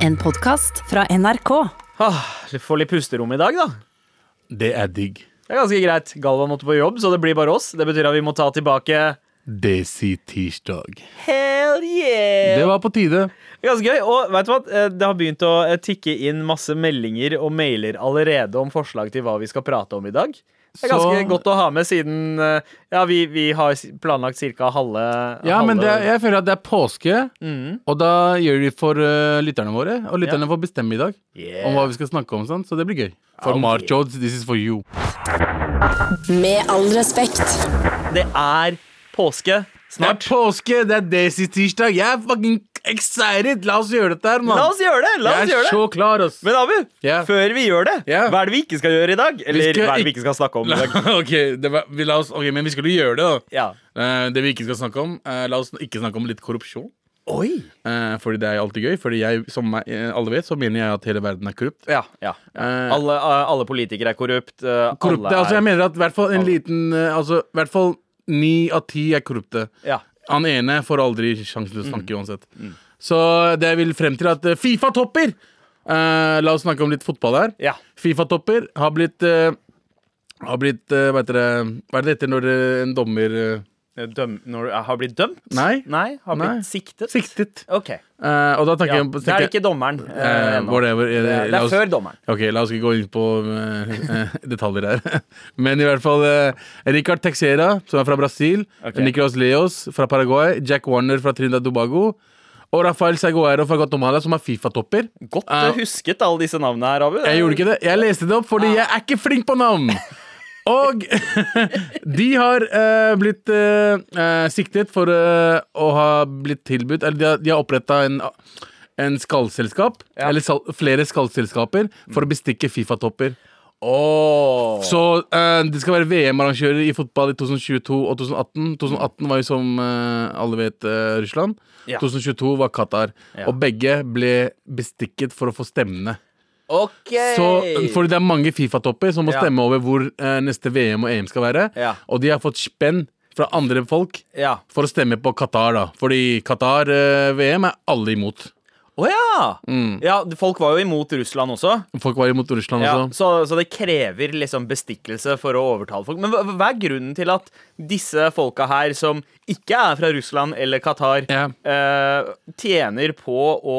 En podkast fra NRK. Ah, Få litt pusterom i dag, da. Det er digg. Det er ganske greit. Galvan måtte på jobb, så det blir bare oss. Det betyr at vi må ta tilbake Desi-tirsdag. Hell yeah! Det var på tide. Ganske gøy. Og vet du hva? Eh, det har begynt å eh, tikke inn masse meldinger og mailer allerede om forslag til hva vi skal prate om i dag. Det er Så- ganske godt å ha med, siden eh, ja, vi, vi har s- planlagt ca. halve Ja, halve- men det er, jeg føler at det er påske, Mhm. og da gjør vi for eh, lytterne våre. Og lytterne får bestemme i dag Yeah. om hva vi skal snakke om, sånn, så det blir gøy. For Ok. Mark Jones, this is for you. Med all respekt. Det er påske Det er snart. påske, det er Desi-tirsdag. Jeg er fucking excited! La oss gjøre dette her, mann. La oss gjøre det! La oss jeg gjøre er det! så klar, ass. Men Abu, Ja. før vi gjør det, Ja. hva er det vi ikke skal gjøre i dag? Eller skal hva er det ikk- vi ikke skal snakke om i dag? ok, det var, vi la oss, ok, men vi skulle gjøre det, da. Ja. Eh, det vi ikke skal snakke om, eh, la oss ikke snakke om litt korrupsjon. Oi! Eh, fordi det er jo alltid gøy. Fordi jeg, som meg- eh, alle vet, så mener jeg at hele verden er korrupt. Ja. ja. Eh, Alle, alle politikere er korrupt. eh, korrupte, alle altså Jeg er, mener at i hvert fall en alle. liten eh, Altså i hvert fall ni av ti er korrupte. ja. Mm. Han ene får aldri sjansen til å snakke uansett. Så det jeg vil frem til, er at eh, Fifa topper! Eh, la oss snakke om litt fotball her. ja. Fifa-topper har blitt eh, Har blitt eh, Hva heter det Hva er det det heter når eh, en dommer eh, Døm, når du har blitt dømt? Nei. Nei har blitt Nei. siktet? siktet? OK. Eh, og da tenker Ja. jeg på Det er ikke dommeren. eh, Eh, ennå. whatever, eh, det, er- det la er oss- før dommeren. Ok, la oss ikke gå inn på eh, eh, detaljer her. Men i hvert fall eh, Ricard Texera, som er fra Brasil. Ok. Nicolas Leos fra Paraguay. Jack Warner fra Trinidad Tobago. Og Rafael Seguero fra Guatemala, som er Fifa-topper. Godt Eh, eh, husket, alle disse navnene her, Abu. Jeg gjorde ikke det. Jeg leste det opp, fordi jeg er ikke flink på navn! Og de har eh, blitt eh, eh, siktet for eh, å ha blitt tilbudt Eller de har, de har oppretta en, en skallselskap, Ja. Mm. eller sal, flere skallselskaper, for å bestikke Fifa-topper. Åh. Så eh, det skal være VM-arrangører i fotball i 2022 og 2018. 2018 var jo som eh, alle vet, eh, Russland. Ja. 2022 var Qatar. Ja. Og begge ble bestikket for å få stemmene. OK! Så, fordi det er mange Fifa-topper som må Ja. stemme over hvor eh, neste VM og EM skal være. Ja. Og de har fått spenn fra andre folk ja. for å stemme på Qatar, da. Fordi Qatar-VM er alle imot. Å ja! Mm. ja! Folk var jo imot Russland også. Folk var imot Russland Ja, også. så, så det krever liksom bestikkelse for å overtale folk. Men hva, hva er grunnen til at disse folka her, som ikke er fra Russland eller Qatar, Ja. eh, tjener på å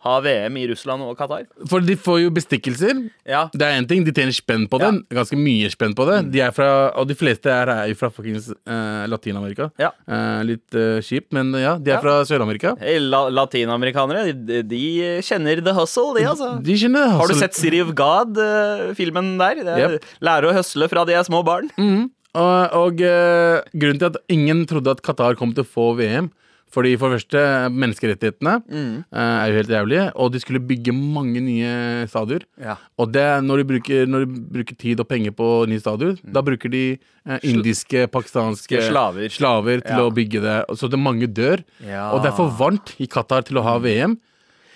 ha VM i Russland og Qatar? For de får jo bestikkelser. Ja. Det er en ting, De tjener spenn på det. Ganske mye spenn på det. Mm. De er fra, og de fleste her er jo fra fuckings eh, Latin-Amerika. Ja. Eh, litt eh, kjipt, men ja, de er Ja. fra Sør-Amerika. Eh, La latinamerikanere, de, de kjenner the hustle, de, altså. De kjenner Har du hustle. sett City of God, eh, filmen der? Det er, Jep. Lære å høsle fra de er små barn. Mm. Og, og eh, grunnen til at ingen trodde at Qatar kom til å få VM fordi for det første, menneskerettighetene Mm. eh, er jo helt jævlige. Og de skulle bygge mange nye stadioner. Ja. Og det, er når, de bruker, når de bruker tid og penger på nye stadioner, da bruker de eh, indiske, pakistanske Mm. Slaver. til Ja. å bygge det. Så det mange dør. Ja. Og det er for varmt i Qatar til å ha VM.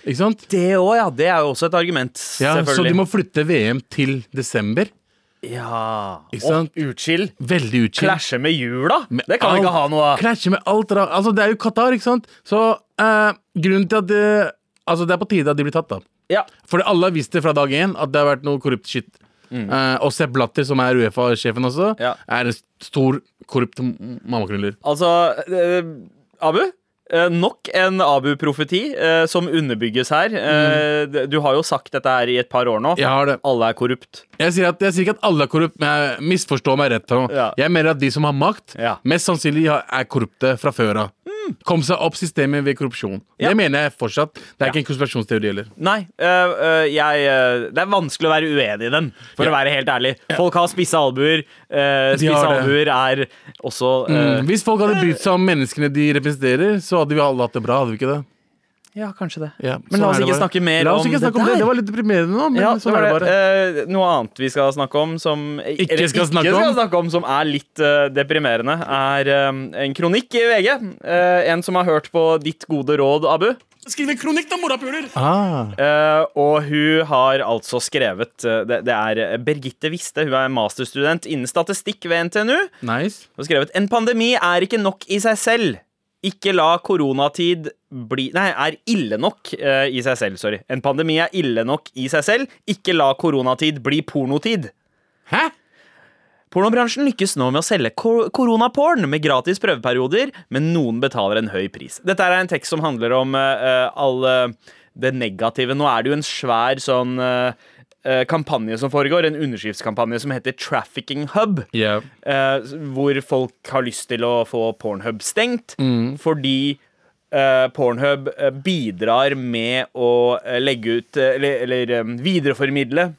Ikke sant? Det òg, ja. Det er jo også et argument, Ja, selvfølgelig. så de må flytte VM til desember. Ja. Ikke sant? Og utskill. Veldig utskilt. Klasje med jula? Med Det kan vi alt- ikke ha noe av. Krasje med alt ra- Altså, det er jo Qatar, ikke sant? Så eh, grunnen til at det, Altså, det er på tide at de blir tatt, da. Ja. For alle har visst det fra dag én at det har vært noe korrupt shit. Eh, og Sepp Blatter, som er Uefa-sjefen også, Mm. Ja. er en stor korrupt m- mammaknuller. Altså, eh, Abu? eh, Nok en Abu-profeti eh, som underbygges her. Eh, d- Du har jo sagt dette her i et par år nå. Mm. Jeg har det. Alle er korrupt. Jeg sier, at, jeg sier ikke at alle er korrupt, men jeg misforstår meg rett. nå. Ja. Jeg mener at de som har makt, Ja. Mm. mest sannsynlig har- er korrupte fra før av. Kom seg opp systemet ved korrupsjon. Ja. Det mener jeg fortsatt. Det er ikke en konspirasjonsteori heller. Nei, eh, eh, jeg eh, Det er vanskelig å være uenig i den, for Ja. å være helt ærlig. Folk har spisse albuer. eh, De Spisse har det. albuer er også eh, Mm. Hvis folk hadde brydd seg om menneskene de representerer, så hadde vi alle hatt det bra. hadde vi ikke det? Ja, kanskje det. Ja, Men sånn la oss er det ikke bare. snakke mer la oss om ikke det snakke om det. der. Det var litt deprimerende nå, men Ja, sånn er det bare. Eh, noe annet vi skal snakke om som Ikke skal snakke skal om. snakke om, som er litt eh, deprimerende, er eh, en kronikk i VG. Eh, en som har hørt på ditt gode råd, Abu. Skriv en kronikk da, morapuler! Ah, Eh, og hun har altså skrevet eh, det, det er Birgitte Wiste, hun er masterstudent innen statistikk ved NTNU. Hun nice. har skrevet En pandemi er ikke nok i seg selv. Ikke la koronatid bli Nei, er ille nok eh, i seg selv. Sorry. En pandemi er ille nok i seg selv. Ikke la koronatid bli pornotid. Hæ? Pornobransjen lykkes nå med å selge ko- koronaporn med gratis prøveperioder, men noen betaler en høy pris. Dette er en tekst som handler om eh, alle det negative. Nå er det jo en svær sånn eh, eh, kampanje som foregår, en underskriftskampanje som heter Trafficking Hub. Ja. eh, hvor folk har lyst til å få Pornhub stengt fordi eh, Pornhub eh, bidrar med å eh, legge ut eh, eller, eller eh, videreformidle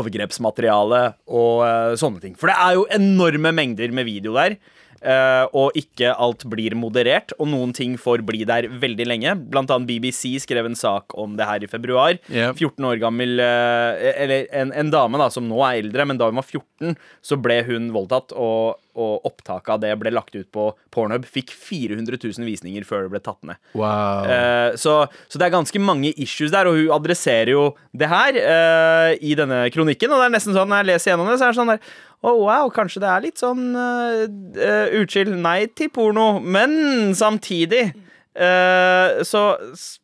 overgrepsmateriale og eh, sånne ting. For det er jo enorme mengder med video der. eh, og ikke alt blir moderert, og noen ting får bli der veldig lenge. Blant annet BBC skrev en sak om det her i februar. Ja. 14 år gammel eh, Eller en, en dame da som nå er eldre, men da hun var 14, så ble hun voldtatt, og, og opptaket av det ble lagt ut på Pornhub. Fikk 400 000 visninger før det ble tatt ned. Wow. Eh, så, så det er ganske mange issues der, og hun adresserer jo det her eh, i denne kronikken. Og det er nesten sånn når jeg leser gjennom det, så er det sånn der Å, wow, kanskje det er litt sånn eh, eh, Unnskyld, nei til porno, men samtidig eh, Så s-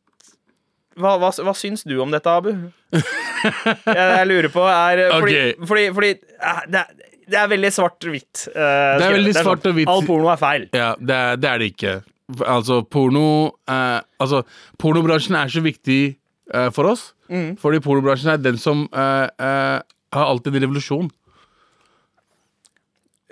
hva, hva, hva syns du om dette, Abu? jeg, jeg lurer på er Fordi, Ok. fordi, fordi eh, det, er, det er veldig svart-hvitt. eh, skrevet. veldig sånn, svart og hvitt. All porno er feil. Ja, det er det, er det ikke. Altså, porno eh, Altså, pornobransjen er så viktig eh, for oss. Mm. Fordi pornobransjen er den som eh, eh, har alltid en revolusjon.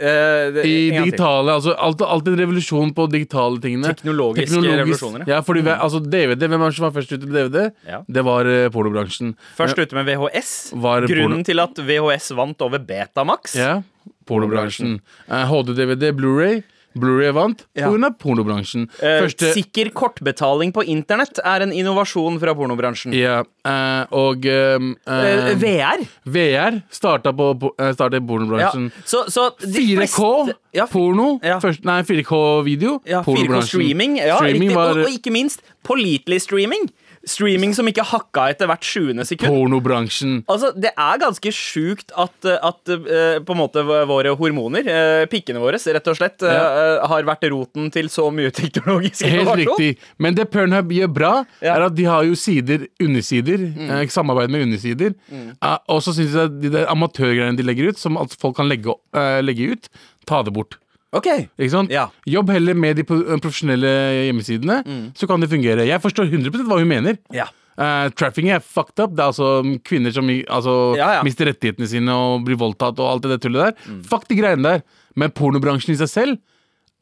Eh, det- I en gang til. digitale, altså alt- Alltid en revolusjon på digitale tingene. Teknologiske revolusjoner, Mm. Ja, fordi ve- altså, DVD, Hvem er det som var først ute med DVD? Ja. Det var eh, pornobransjen. Først ute med VHS. Var Grunnen porno- til at VHS vant over Betamax. Ja, pornobransjen. Eh, HD-DVD, Blu-ray. Blu-ray vant Ja. pga. pornobransjen. Eh, Første- Sikker kortbetaling på internett er en innovasjon fra pornobransjen. Ja, eh, og ehm, Eh, eh, VR. VR starta, på, på- eh, starta i Ja. pornobransjen. Så, så de 4K fleste- ja, porno. ja. Først, nei, 4K-video. ja, 4K streaming. Ja, streaming riktig. var Og, og ikke minst pålitelig streaming. Streaming som ikke hakka etter hvert sjuende sekund. pornobransjen. Altså, Det er ganske sjukt at, at eh, på en måte våre hormoner, eh, pikkene våre, rett og slett, eh, Ja. eh, har vært roten til så mye teknologisk Helt riktig. Men det Pornhub gjør bra, Ja. Mm. er at de har jo sider, undersider. Eh, samarbeid med undersider. Eh, og så syns jeg at de der amatørgreiene de legger ut, som at folk kan legge, opp- eh, legge ut, ta det bort. Ok. Ikke sant? Ja. Jobb heller med de pro- profesjonelle hjemmesidene, Mm. så kan det fungere. Jeg forstår 100 hva hun mener. Ja. Eh, trafficking er fucked up. Det er altså mm, kvinner som i- altså, Ja, Mm. ja. mister rettighetene sine og blir voldtatt og alt det der tullet der. Fuck de greiene der. Men pornobransjen i seg selv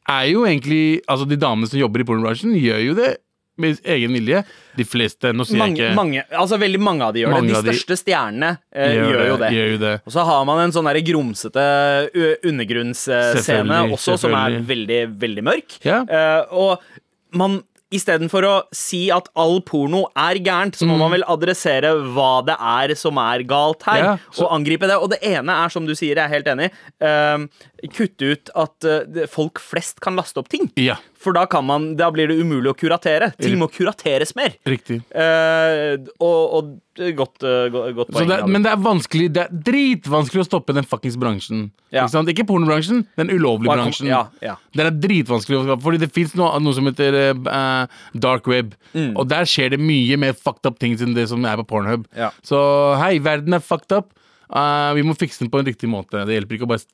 er jo egentlig Altså, de damene som jobber i pornobransjen, gjør jo det med egen vilje. De fleste. Nå sier mange, jeg ikke mange, altså veldig mange av de gjør Mange det. av de De største stjernene eh, gjør, jo det. Gjør jo det. Og så har man en sånn der grumsete ø- undergrunnsscene Selvfølgelig, også, som er selvfølgelig. veldig, veldig mørk. Ja. Eh, og man Istedenfor å si at all porno er gærent, Mm. så må man vel adressere hva det er som er galt her, Ja, så- og angripe det. Og det ene er, som du sier, jeg er helt enig, eh, kutte ut at eh, det- folk flest kan laste opp ting. Ja, For da, kan man, da blir det umulig å kuratere. Ting må kurateres mer. riktig. Eh, og, og godt, eh, go- godt Så poeng. det er, Abu. men det er vanskelig Det er dritvanskelig å stoppe den fuckings bransjen. Ja. Ikke, sant? ikke pornobransjen, den ulovlige Bare kom- bransjen. ja, ja. Den er dritvanskelig å skape, Fordi det fins noe, noe som heter eh, dark web. Mm. Og der skjer det mye mer fucked up ting enn det som er på Pornhub. Ja. Så hei, verden er fucked up. Eh, vi må fikse den på en riktig måte. Det hjelper ikke å bare s-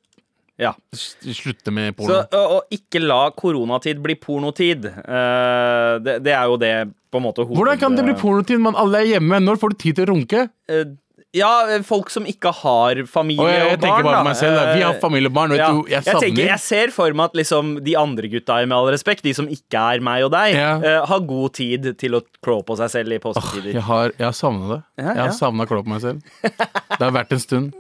ja. s- slutte med Så, porno. og, og ikke la koronatid bli pornotid. Eh, det, det er jo det på en måte hoved... Hvordan kan det bli pornotid når alle er hjemme? Når får du tid til å runke? Eh, ja, folk som ikke har familie Og og, jeg, jeg barn. tenker bare da. på meg selv. Da. Vi har Eh, familie og barn. Vet ja. du, jeg jeg, savner tenker, jeg ser for meg at liksom, de andre gutta, med all respekt, de som ikke er meg og deg, Ja. eh, har god tid til å klå på seg selv i påsketider. Jeg har, jeg har savna det. Ja, Jeg ja. har savna å klå på meg selv. Det har vært en stund.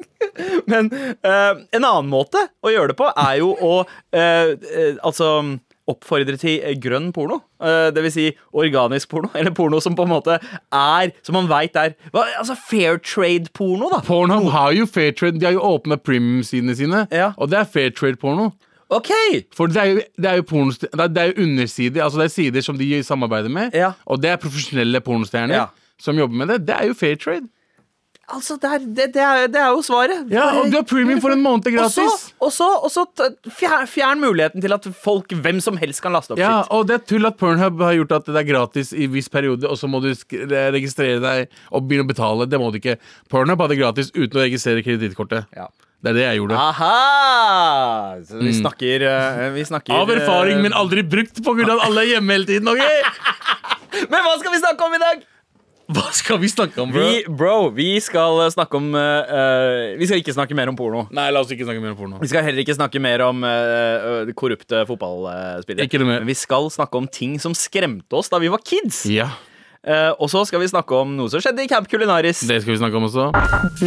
Men eh, en annen måte å gjøre det på er jo å eh, eh, altså oppfordre til eh, grønn porno. Eh, det vil si organisk porno, eller porno som på en måte er Som man veit er hva, Altså fair trade-porno, da. Pornhub har jo fair trade. De har jo åpna premium-sidene sine, Ja. og det er fair trade-porno. OK! For det er jo, det er jo, pornost- det er- det er jo undersider, altså det er sider som de samarbeider med, Ja. og det er profesjonelle pornostjerner Ja. som jobber med det. Det er jo fair trade. Altså, det er, det, det er, det er jo svaret. Ja, og du har premium for en måned Og så, gratis. og så, og så t- fjern, fjern muligheten til at folk, hvem som helst, kan laste opp Ja, sitt. og det er tull at Pornhub har gjort at det er gratis i viss periode, og så må du sk- registrere deg og begynne å betale. Det må du ikke. Pornhub hadde gratis uten å registrere kredittkortet. Ja. Det er det jeg gjorde. Aha! Så vi snakker, eh, vi snakker Mm. Av erfaring, eh, men aldri brukt på grunn av at alle er hjemme hele tiden. ok? Men hva skal vi snakke om i dag? Hva skal vi snakke om, bro? Vi, bro, vi skal eh, snakke om eh, eh, Vi skal ikke snakke mer om porno. Nei, la oss ikke snakke mer om porno. Vi skal heller ikke snakke mer om eh, eh, korrupte fotballspillere. Ikke noe mer. Men vi skal snakke om ting som skremte oss da vi var kids. Ja, Eh, og så skal vi snakke om noe som skjedde i Camp Culinaris. det skal vi snakke om også.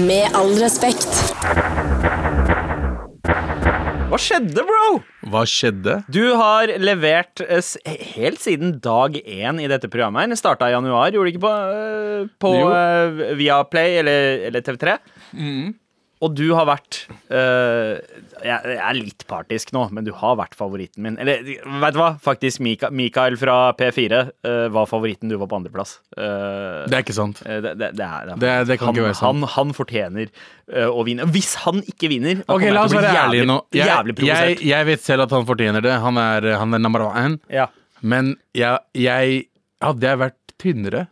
Med all respekt. Hva skjedde, bro? Hva skjedde? Du har levert eh, s- helt siden dag én i dette programmet. her. Det starta i januar, gjorde det ikke på, eh, på Jo. eh, Viaplay eller, eller TV3? Mm. Og du har vært eh, jeg, jeg er litt partisk nå, men du har vært favoritten min. Eller vet du hva? Faktisk, Mika, Mikael fra P4 eh, var favoritten. Du var på andreplass. Uh, Det er ikke sant. Eh, Det, det, det, er, det, er, Det- det kan han, ikke være sant. Han, han fortjener eh, å vinne. Hvis han ikke vinner, da Ok, kommer La oss jeg til å være bli ærlige nå. jævlig, jævlig Jeg, jeg, provosert. jeg vet selv at han fortjener det. Han er, han er number one. Ja. Men jeg, jeg Hadde jeg vært tynnere,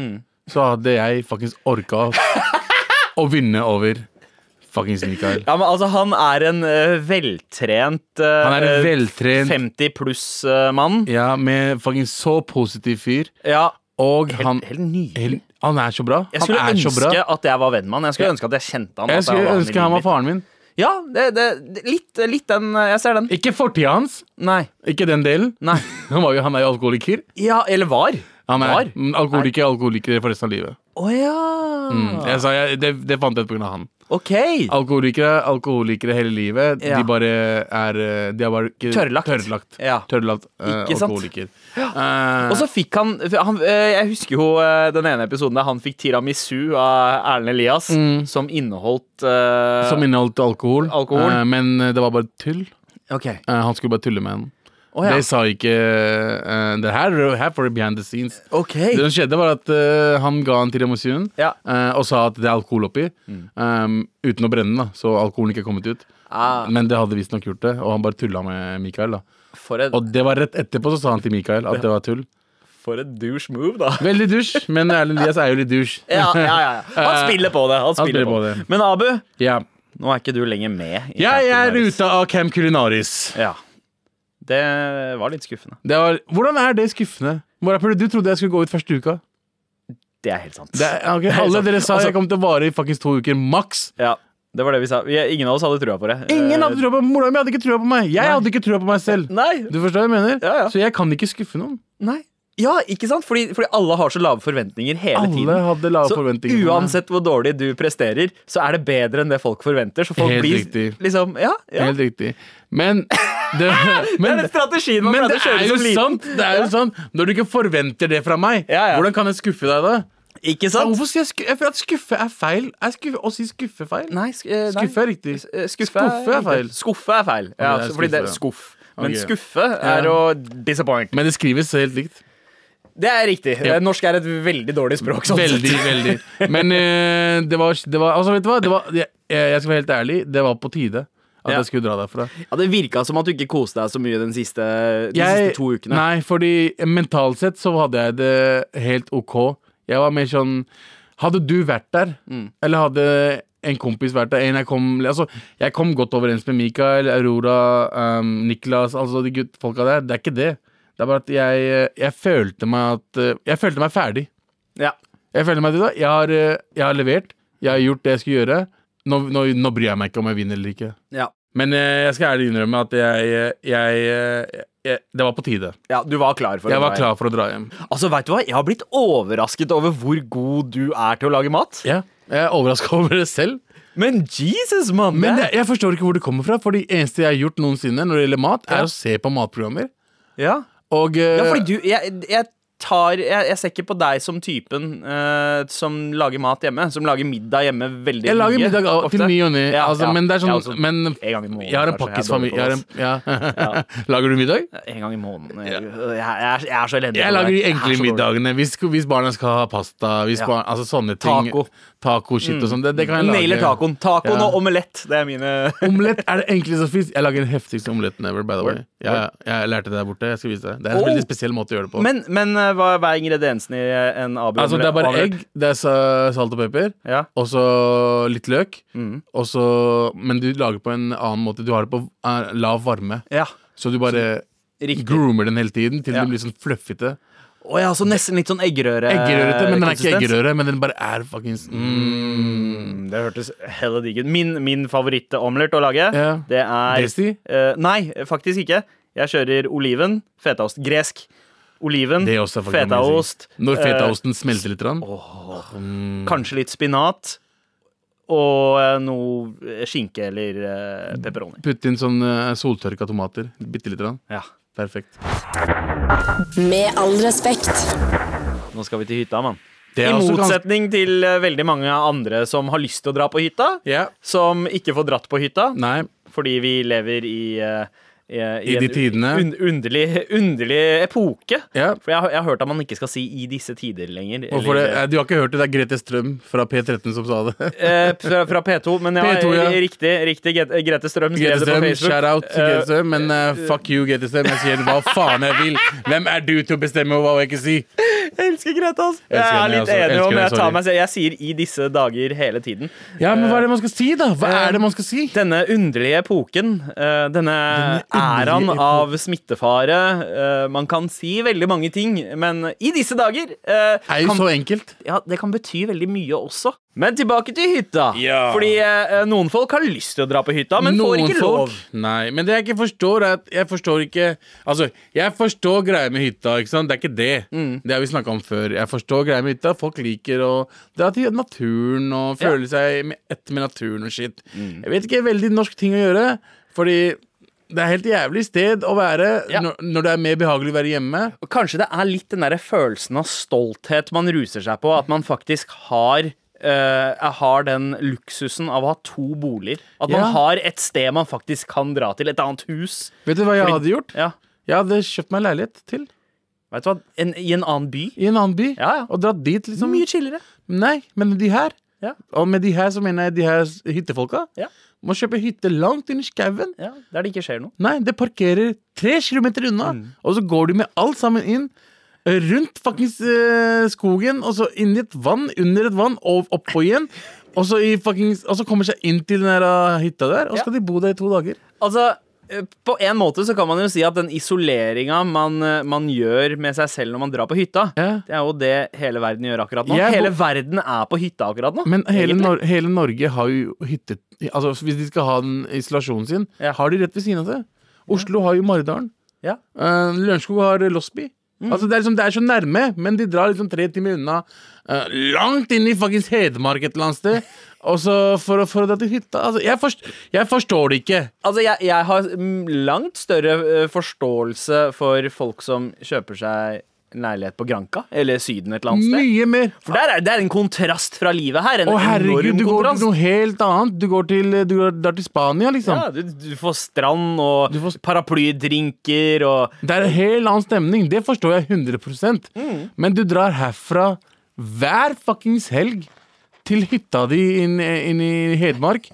Mm. så hadde jeg faktisk orka å vinne over fuckings Mikael. ja, men altså, han er en eh, veltrent eh, Han er en veltrent- 50 pluss-mann. Ja, med fucking så positiv fyr. ja. Og han Helt, helt nydelig. hel- Han er så bra. Jeg Han skulle er så bra. ønske at jeg var venn med han. Jeg skulle ønske at jeg kjente han. at Jeg skulle var i ønske han livet var faren min. mitt. Ja, det, det, det, litt, litt den eh, Jeg ser den. Ikke fortida hans. Nei. Ikke den delen. Nei. Han, var jo, han er jo alkoholiker. Ja, eller var. Han Var? er mm, alkoholiker, alkoholiker for resten av livet. Å ja. Mm. Jeg sa, jeg, det, det fant jeg ut på grunn av han. OK. Alkoholikere alkoholikere hele livet. Ja. De bare er eh, de er bare ikke, Tørrlagt. Tørrlagt, Ja. tørrlagt eh, Ikke sant? alkoholiker. Eh, Og så fikk han, han eh, Jeg husker jo eh, den ene episoden der han fikk tiramisu av Erlend Elias, som inneholdt eh, Mm. som inneholdt alkohol, Alkohol. eh, men det var bare tull. Ok. Eh, han skulle bare tulle med henne. Å, ja. Det sa ikke eh, Det her er her for behind the scenes. Ok. Det som skjedde, var at eh, han ga han tiramisuen Ja. eh, og sa at det er alkohol oppi. Mm. eh, uten å brenne den, da, så alkoholen ikke er kommet ut. Ah. Men det hadde visstnok gjort det, og han bare tulla med Mikael. da For et, Og det var rett etterpå så sa han til Mikael at det var tull. for et douche move, da. Veldig dusj, men Erlend Elias er jo litt dusj. Ja, ja, ja, ja. Han spiller på det. Han spiller Eh, spiller på på det. det. Men Abu, Ja. nå er ikke du lenger med. i Camp Jeg er Culinaris. ute av Camp Culinaris. Ja. Det var litt skuffende. Det var, hvordan er det skuffende? Morapuler, du trodde jeg skulle gå ut første uka. Det er helt sant. Det er, altså- ok, alle dere sa jeg kom til å vare i faktisk to uker maks. Ja, det var det vi sa. Vi, ingen av oss hadde trua på det. Ingen Eh, hadde trua på Mora mi hadde ikke trua på meg. Jeg hadde ikke trua på meg selv. Nei. Du forstår hva jeg mener? Ja, ja. Så jeg kan ikke skuffe noen. Nei. Ja, ikke sant? Fordi, fordi alle har så lave forventninger hele tiden. Alle hadde lave Så forventninger. på meg. uansett hvor dårlig du presterer, så er det bedre enn det folk forventer. Så folk Helt blir riktig. liksom Ja, ja. Helt riktig. Men det, men det er den strategien man pleide Men å det er kjøre jo som liten. sant! Det er jo sant Når du ikke forventer det fra meg, Ja, ja. hvordan kan jeg skuffe deg da? Ikke Ja, sant? hvorfor sier jeg skuffe? Jeg føler at skuffe er feil. Er skuffe, å si skuffe feil? Nei, sk eh, nei. Skuffe er riktig. Eh, Skuffe, Skuffe er riktig. feil. Skuffe er feil. Ja, Ok, det så er fordi det er skuff. skuffe, Men Ok. skuffe er Ja. å disappoint. Men det skrives helt likt. Det er riktig. Eh, Norsk er et veldig dårlig språk. Sånn Veldig, sett. veldig. Men eh, det var, det var Altså, vet du hva? Det var, jeg, jeg skal være helt ærlig, det var på tide at Ja. jeg skulle dra derfra. Ja, det virka som at du ikke koste deg så mye den siste, de Jeg- siste to ukene. Nei, fordi mentalt sett så hadde jeg det helt ok. Jeg var mer sånn Hadde du vært der, Mm. eller hadde en kompis vært der en jeg, kom, altså, jeg kom godt overens med Mikael, Aurora, um, Niklas, altså de gutt, folka der. Det er ikke det. Det er bare at jeg, jeg følte meg at eh, Jeg følte meg ferdig. Ja. Jeg føler meg til det. Jeg har, eh, jeg har levert. Jeg har gjort det jeg skulle gjøre. Nå, nå, nå bryr jeg meg ikke om jeg vinner eller ikke. Ja. Men eh, jeg skal ærlig innrømme at jeg, eh, jeg, eh, jeg Det var på tide. ja, du var klar for Jeg dra var hjem. klar for å dra hjem. Altså, vet du hva? Jeg har blitt overrasket over hvor god du er til å lage mat. Ja, Jeg er overraska over det selv. Men Jesus, mann! Men det, det- jeg forstår ikke hvor det kommer fra. For det eneste jeg har gjort noensinne når det gjelder mat, Ja. er å se på matprogrammer. ja. Og ja, eh, fordi du jeg, jeg tar jeg, jeg ser ikke på deg som typen eh, som lager mat hjemme. Som lager middag hjemme veldig Jeg lager mye, middag av- til ofte. ny og ne. Ja, altså, ja. men det er sånn Ja, altså, men, en gang i måneden, Jeg har kanskje. Jeg er dårlig en på pakkisfamilie. det, Ja. Lager du middag? En gang i måneden. Jeg, jeg, er, jeg er så elendig. på Jeg det lager der. de Jeg er så enkle dårlig. middagene. Hvis, hvis barna skal ha pasta, hvis Ja. barn, altså sånne ting. Taco. Mm. Taco, shit og sånn. Det, det kan jeg lage. Nailer tacoen. Tacoen Ja. og omelett. Det er mine Omelett er det enkleste som fins. Jeg lager den heftigste omeletten ever. By the way. Jeg, jeg lærte det der borte. Jeg skal vise deg. Det er en Oh. veldig spesiell måte å gjøre det på. Men, men eh, hva, hva er ingrediensene i eh, en abu altså, det er bare egg, det er sa- salt og pepper, Ja. og så litt løk. Mm. Og så, men du lager på en annen måte. Du har det på eh, lav varme. Ja. Så du bare Riktig. groomer den hele tiden til Ja. den blir sånn fluffete. Å ja, så nesten litt sånn eggerøre Eggerørete, men den er ikke konsistens. eggerøre, men den bare er fuckings mm. Mm, Det hørtes hella digg ut. Min, min favorittomelett å lage, Ja. det er Desi? Eh, nei, faktisk ikke. Jeg kjører oliven, fetaost. Gresk. Oliven, Det er også fucking fetaost. amazing. Når eh, fetaosten smelter litt. grann. mm. kanskje litt spinat. Og eh, noe skinke eller eh, Mm. pepperoni. Putt inn sånn eh, soltørka tomater. Bitte lite grann. Ja. Perfekt. Med all respekt. Nå skal vi til hytta, mann. Det I er også ganske- motsetning til eh, veldig mange andre som har lyst til å dra på hytta, Ja. som ikke får dratt på hytta Nei. fordi vi lever i eh, i, I de tidene. un underlig, underlig epoke. Ja. For jeg, har- jeg har hørt at man ikke skal si 'i disse tider' lenger. Hvorfor det? eller- Eh, Du har ikke hørt det? Det er Grete Strøm fra P13 som sa det. Eh, fra, fra P2, men ja, P2, ja. riktig. riktig Gre- Grete Strøm skrev Grete det på Strøm, Facebook. shout out til Eh, Grete Strøm, men eh, fuck you, Grete Strøm. Jeg sier hva faen jeg vil. Hvem er du til å bestemme hva jeg ikke sier? jeg elsker Grete, altså. Jeg, Elsker er henne, litt altså. enig, Elsker om henne, jeg tar sorry. meg selv Jeg sier 'i disse dager' hele tiden. Ja, men hva er det man skal si, da? Hva Eh, er det man skal si? Denne underlige epoken, eh, denne æraen underlige av smittefare eh, Man kan si veldig mange ting, men 'i disse dager' eh, Er jo kan så enkelt. ja, det kan bety veldig mye også. Men tilbake til hytta. Ja. Fordi eh, noen folk har lyst til å dra på hytta, men får ikke lov. Nei, men det jeg ikke forstår, er at jeg forstår ikke Altså, jeg forstår greia med hytta, ikke sant? Det er ikke det. Mm. Det har vi snakka om før. Jeg forstår greia med hytta. Folk liker å dra til naturen og Ja. Mm. føle seg med ett med naturen og shit. Jeg vet ikke, veldig norsk ting å gjøre, fordi det er helt jævlig sted å være Ja. når, når det er mer behagelig å være hjemme. Og Kanskje det er litt den der følelsen av stolthet man ruser seg på, at man faktisk har eh, har den luksusen av å ha to boliger. At man Ja. har et sted man faktisk kan dra til. Et annet hus. Vet du hva jeg Fordi- hadde gjort? Ja, Jeg hadde kjøpt meg leilighet til vet du hva? En, I en annen by. i en annen by. Ja, ja. Og dratt dit, liksom. Mye chillere. Nei, men de her Ja. Og med de her så mener jeg de her hyttefolka Ja. Må kjøpe hytte langt inn i skauen Ja, Der det ikke skjer noe. Nei, det parkerer tre kilometer unna Mm. Og så går de med alt sammen inn eh, Rundt fuckings eh, skogen Og så inn i et vann, under et vann Og oppå igjen Og så, i fuckings, og så kommer seg inn til den her eh, hytta der Og Ja. så skal de bo der i to dager Altså, eh, på en måte så kan man jo si at den isoleringa man, eh, man gjør med seg selv når man drar på hytta, Ja. det er jo det hele verden gjør akkurat nå. Jeg bo- hele verden er på hytta akkurat nå. Men hele, egentlig. Nor hele Norge har jo hyttet Altså hvis de skal ha den isolasjonen sin Ja. Har de rett ved siden av det Oslo har jo Maridalen Ja. Eh, Lørenskog har Losby. Mm. Altså, det, er liksom, det er så nærme, men de drar liksom tre timer unna. eh, langt inn i fuckings Hedmark et eller annet sted. Og så for, å- for å dra til hytta. Altså, jeg, forst, jeg forstår det ikke. Altså, jeg, jeg har mm, langt større eh, forståelse for folk som kjøper seg en leilighet på Granka eller Syden et eller annet sted. Mye mer. For der er, det er en kontrast fra livet her. En Å herregud, enorm du går til kontrast. noe helt annet. Du går til, du går der til Spania, liksom. Ja, du, du får strand og Du får- paraplydrinker og Det er en helt annen stemning. Det forstår jeg 100 Mm. Men du drar herfra hver fuckings helg til hytta di inn, inn i Hedmark.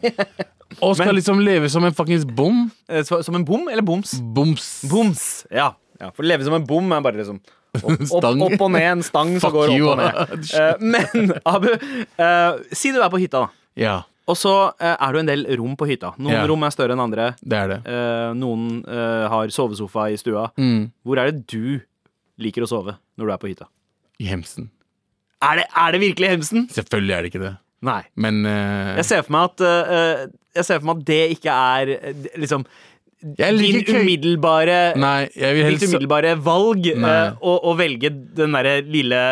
Og skal liksom leve som en fuckings bom. eh, så- Som en bom eller boms? Boms. Boms, ja. ja. For å leve som en bom er bare liksom opp, opp, Stang. opp og ned en stang som Fuck går you, opp og ned. Eh, men Abu, eh, si du er på hytta, da. Ja, Og så eh, er det jo en del rom på hytta. Noen Ja. rom er større enn andre. det er det. Eh, noen eh, har sovesofa i stua. Hvor er det du liker å sove når du er på hytta? I Hemsen. Er det, er det virkelig Hemsen? Selvfølgelig er det ikke det. Nei. Men eh, Jeg ser for meg at, eh, eh, jeg ser for meg at det ikke er eh, d- liksom jeg din liker køy- umiddelbare Nei, jeg vil Ditt helst umiddelbare valg eh, Nei. å, å velge den derre lille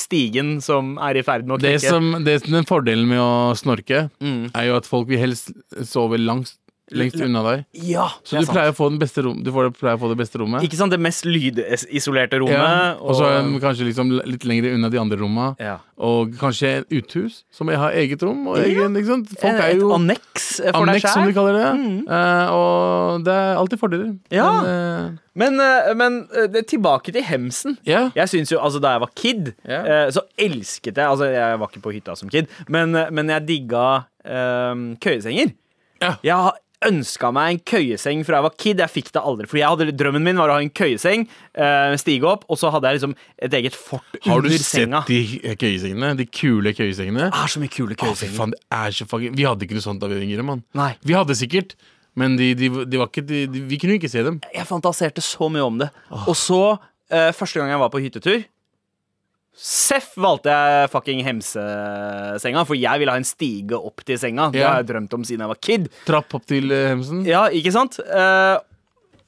stigen som er i ferd med å det knekke. som, det som Den fordelen med å snorke Mm. er jo at folk vil helst sove langs lengst unna deg. Ja, Så du pleier å få, den beste rom, du får, pleier å få det beste rommet. Ikke sant, det mest lydisolerte rommet. ja. Og så er den og, kanskje liksom litt lengre unna de andre romma. Ja. Og kanskje et uthus som har eget rom. Og Ja. egen, ikke sant? Folk er et jo anneks for anneks, deg som de sjæl. kaller det. Eh, og det er alltid fordeler. Ja. Men, Men, eh, men eh, det, tilbake til hemsen. eh, ja. Jeg synes jo, altså Da jeg var kid, Ja. eh, så elsket jeg Altså, jeg var ikke på hytta som kid, men, eh, men jeg digga eh, køyesenger. Ja. Jeg har ønska meg en køyeseng fra jeg var kid. Jeg fikk det aldri. Fordi jeg hadde, Drømmen min var å ha en køyeseng, eh, stige opp, og så hadde jeg liksom et eget fort Har du under sett senga. de køyesengene? De kule køyesengene? Det er så mye kule Å, fy køyesenger. Ah, faen, det er så fucking Vi hadde ikke noe sånt da vi var yngre, mann. Nei. Vi hadde sikkert, men de, de, de var ikke de, de, Vi kunne jo ikke se dem. jeg fantaserte så mye om det. Og så, eh, første gang jeg var på hyttetur Seff valgte jeg fucking hemsesenga, for jeg ville ha en stige opp til senga. Det Ja. har jeg drømt om siden jeg var kid. Trapp opp til eh, hemsen. Ja, ikke sant? Eh,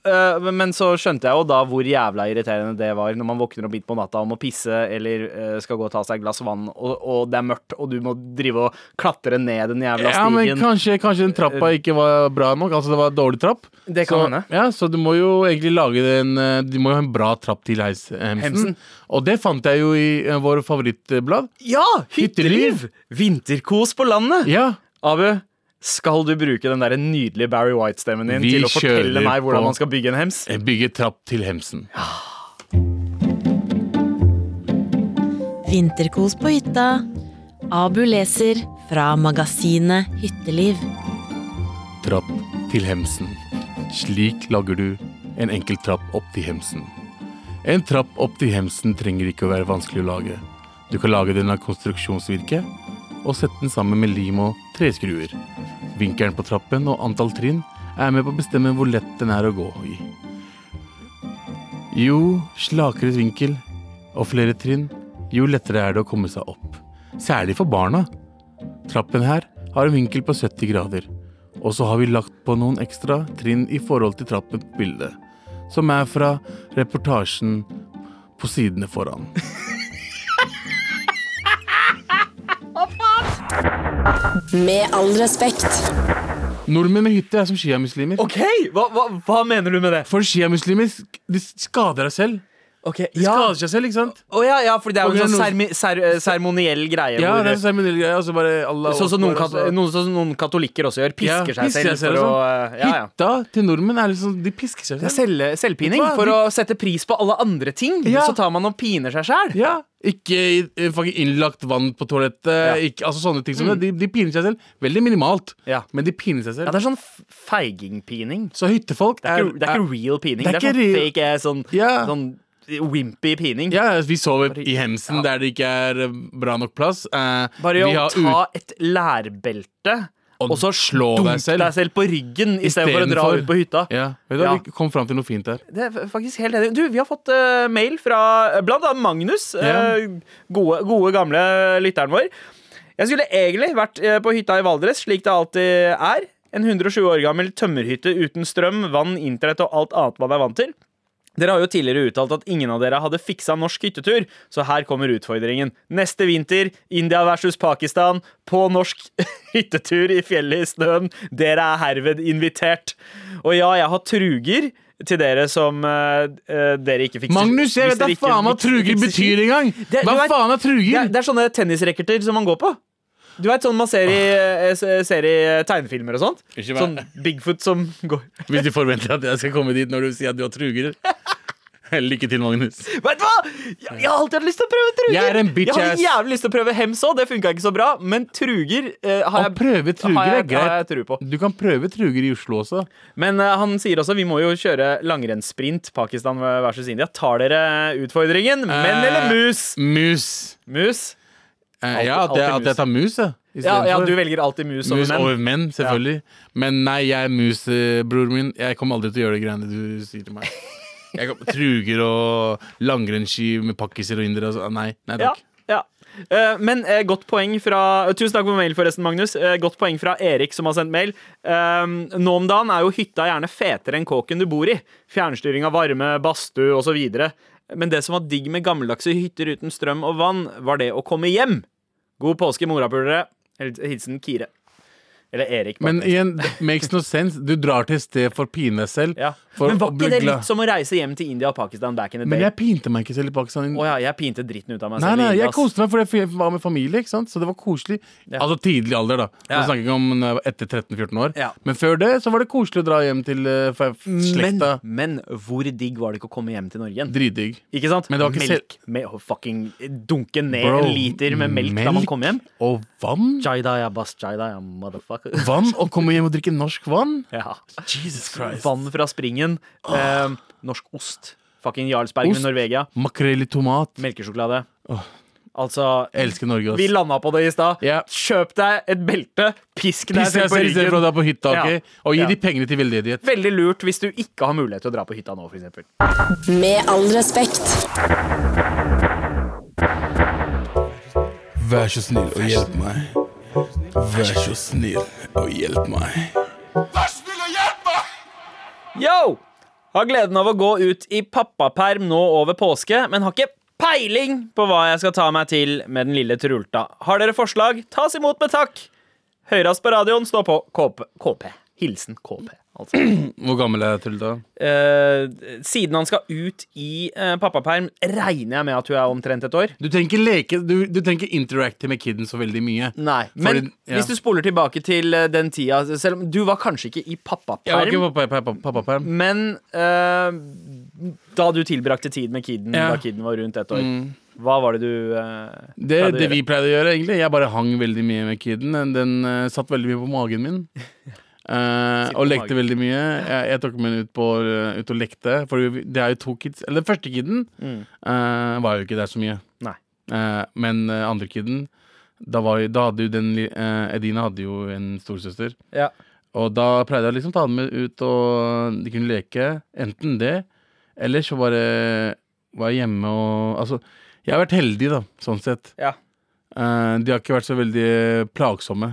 eh, men så skjønte jeg jo da hvor jævla irriterende det var når man våkner opp midt på natta og må pisse eller eh, skal gå og ta seg et glass vann, og, og det er mørkt, og du må drive og klatre ned den jævla Ja, men stigen. kanskje, kanskje den trappa ikke var bra nok. Altså det var dårlig trapp. Det kan så, hende. Ja, så du må jo egentlig lage den eh, Du må jo ha en bra trapp til heis, eh, hemsen. Hemsen. Og det fant jeg jo i eh, vår favorittblad. Ja! Hytteliv! Vinterkos på landet! Ja. Abu, skal du bruke den der nydelige Barry White-stemmen din Vi til å fortelle kjører meg hvordan på. man skal bygge en hems? Bygge trapp til hemsen. Vinterkos på hytta. Abu leser fra magasinet Hytteliv. Trapp til hemsen. Slik lager du en enkel trapp opp til hemsen. En trapp opp til hemsen trenger ikke å være vanskelig å lage. Du kan lage den av konstruksjonsvirke og sette den sammen med lim og treskruer. Vinkelen på trappen og antall trinn er med på å bestemme hvor lett den er å gå i. Jo slakere vinkel og flere trinn, jo lettere er det å komme seg opp. Særlig for barna. Trappen her har en vinkel på 70 grader. Og så har vi lagt på noen ekstra trinn i forhold til trappens bilde, som er fra reportasjen på sidene foran. Med all respekt. Nordmenn med hytte er som sjiamuslimer. Ok, hva, hva, hva mener du med det? For sjiamuslimer sk- de skader deg selv. Ok, De ja. skader seg selv, ikke sant? Å ja, ja, for det er Og jo en det er sånn sermi- ser, eh, seremoniell greie. Ja, hvor, det er sånn ceremoniell greie. og så bare Allah sånn som noen, akbar, kat, og så- noen, sånn som noen katolikker også gjør. Ja, Pisker seg selv. og For å, sånn. eh, ja, ja. Hytta til nordmenn er liksom De pisker seg Det er selv. selv, selvpining. Vet du hva? For å sette pris på alle andre ting, Ja. så tar man og piner seg sjæl. Ja. Ikke i- eh, fucking innlagt vann på toalettet. Ikke, altså sånne ting som det. De, de piner seg selv. Veldig Mm. minimalt, Ja. men de piner seg selv. Ja, det er sånn f- feigingpining. Så hyttefolk Det er, ikke- det er ikke real pining. det Det er er, sånn ikke real- fake, eh, sånn, Ja. sånn wimpy pining. Ja, vi sover i hemsen der det ikke er eh, bra nok plass. Eh, Bare vi å har ta et lærbelte Og og, så slå slå deg deg selv. selv. deg selv på ryggen istedenfor å dra Istedenfor. ut på hytta. ut- ja, vet du, hva, Ja. Vi kom fram til noe fint der. Det er f- faktisk helt enig. Du, Vi har fått eh, mail fra eh, blant annet Magnus, Ja. eh, gode, gode gamle lytteren vår. Jeg skulle egentlig vært eh, på hytta i Valdres, slik det alltid er. En 120 år gammel tømmerhytte uten strøm, vann, internett og alt annet man er vant til. Dere har jo tidligere uttalt at ingen av dere hadde fiksa norsk hyttetur, så her kommer utfordringen. Neste vinter, India versus Pakistan, på norsk hyttetur i fjellet i snøen. Dere er herved invitert. Og ja, jeg har truger til dere som eh, eh, dere ikke fikser Magnus, jeg hvis vet da dere ikke faen hva fikser- truger fikser ski. betyr engang! Det- Hva du vet- faen er Det er, truger? det er sånne tennisracketer som man går på. Du veit sånn man ser i, eh, s- ser i eh, tegnefilmer og sånt? Ikke meg. Sånn Bigfoot som går Hvis du forventer at jeg skal komme dit når du sier at du har truger. Lykke til, Magnus. Vet du hva? Jeg, jeg har alltid hatt lyst til å prøve truger. Jeg er en bitch, har ass. jævlig lyst til å prøve hems òg, det funka ikke så bra. Men truger eh, har, Å jeg, prøve har, truger jeg, er har jeg greit. tro på. Du kan prøve truger i Oslo også. Men eh, han sier også vi må jo kjøre langrennssprint Pakistan versus India. Tar dere utfordringen? Menn Eh, eller mus? Mus. Mus? Eh, Alltid- ja, at jeg, alltid at jeg tar mus, ja. Ja, ja, istedenfor. du velger alltid mus over Mus menn. over menn, selvfølgelig. Men nei, jeg er mus, eh, bror min. Jeg kommer aldri til å gjøre de greiene du sier til meg. Jeg kommer, truger og langrennsski med pakkiser og indere og sånn. Nei, nei Ja, takk. ja. Eh, men eh, godt poeng fra Tusen takk for mail, forresten, Magnus. Eh, godt poeng fra Erik, som har sendt mail. Um, nå om dagen er jo hytta gjerne fetere enn kåken du bor i. Fjernstyring av varme, badstue osv. Men det som var digg med gammeldagse hytter uten strøm og vann, var det å komme hjem. God påske, morapulere. Hilsen Kire. Eller Erik. Men Bartnes. igjen, det makes no sense. Du drar til et sted for å pine deg selv. ja. for Men var å bli ikke det glad. litt sånn- som å reise hjem til India og Pakistan back in the Men day? jeg pinte meg ikke selv i Pakistan. Å ja, jeg pinte dritten ut av meg Nei, selv. i nei, India, jeg ass. koste meg fordi jeg var med familie, ikke sant? så det var koselig. Altså tidlig alder, da. Ja. Nå snakker jeg ikke om når jeg var etter 13-14 år. Ja. Men før det så var det koselig å dra hjem til eh, fa- men, slekta. men hvor digg var det ikke å komme hjem til Norge igjen? Dritdigg. Ikke sant? Men det var ikke melk med å fucking dunke ned Bro, en liter med melk, da man kom hjem. Og vann. Jaida ya bas jaida ya motherfucker. Vann, Å komme hjem og drikke norsk vann. Ja. Jesus Christ. Vann fra springen. Eh, norsk ost. Fucking Jarlsberg Ost. med Norvegia. Makrell i tomat. Melkesjokolade. Altså Jeg elsker Norge, Vi ass. landa på det i stad. Ja. Kjøp deg et belte, pisk deg Piss deg selv på selv istedenfor å ryggen. dra på hytta, Ja. ok? Og gi Ja. de pengene til veldedighet. Veldig lurt hvis du ikke har mulighet til å dra på hytta nå, f.eks. Med all respekt. Vær så snill og hjelp meg. Vær så snill og hjelp meg. Yo! Har gleden av å gå ut i pappaperm nå over påske, men har ikke peiling på hva jeg skal ta meg til med den lille trulta. Har dere forslag? Tas imot med takk! Høyrast på radioen, stå på KP. KP. Hilsen KP, altså. Hvor gammel er Trulda? Eh, siden han skal ut i eh, pappaperm, regner jeg med at hun er omtrent et år. Du tenker leke Du, du tenker interacte med kidden så veldig mye. Nei, Men Fordi- ja. hvis du spoler tilbake til eh, den tida Selv om du var kanskje ikke i Jeg var pappaperm, ikke på pappa- pappaperm. men eh, da du tilbrakte tid med kiden Ja. Mm. da kiden var rundt ett år, hva var det du eh, Det, pleide å det gjøre? vi pleide å gjøre, egentlig. Jeg bare hang veldig mye med kiden. Den, den eh, satt veldig mye på magen min. Eh, Sitt på og lekte magen. veldig mye. Jeg, jeg tok med den ut, på, eh, ut og lekte. For vi- det er jo to kids Eller den første kiden eh, var jo ikke der så mye. Mm. Nei. Eh, men eh, andre kiden da, var, jo- da hadde jo den li- eh, Edina hadde jo en storesøster. Ja. Og da pleide jeg å liksom ta dem med ut, og de kunne leke. Enten det, eller så bare var jeg hjemme og Altså, jeg har vært heldig, da, sånn sett. Ja. Eh, de har ikke vært så veldig plagsomme.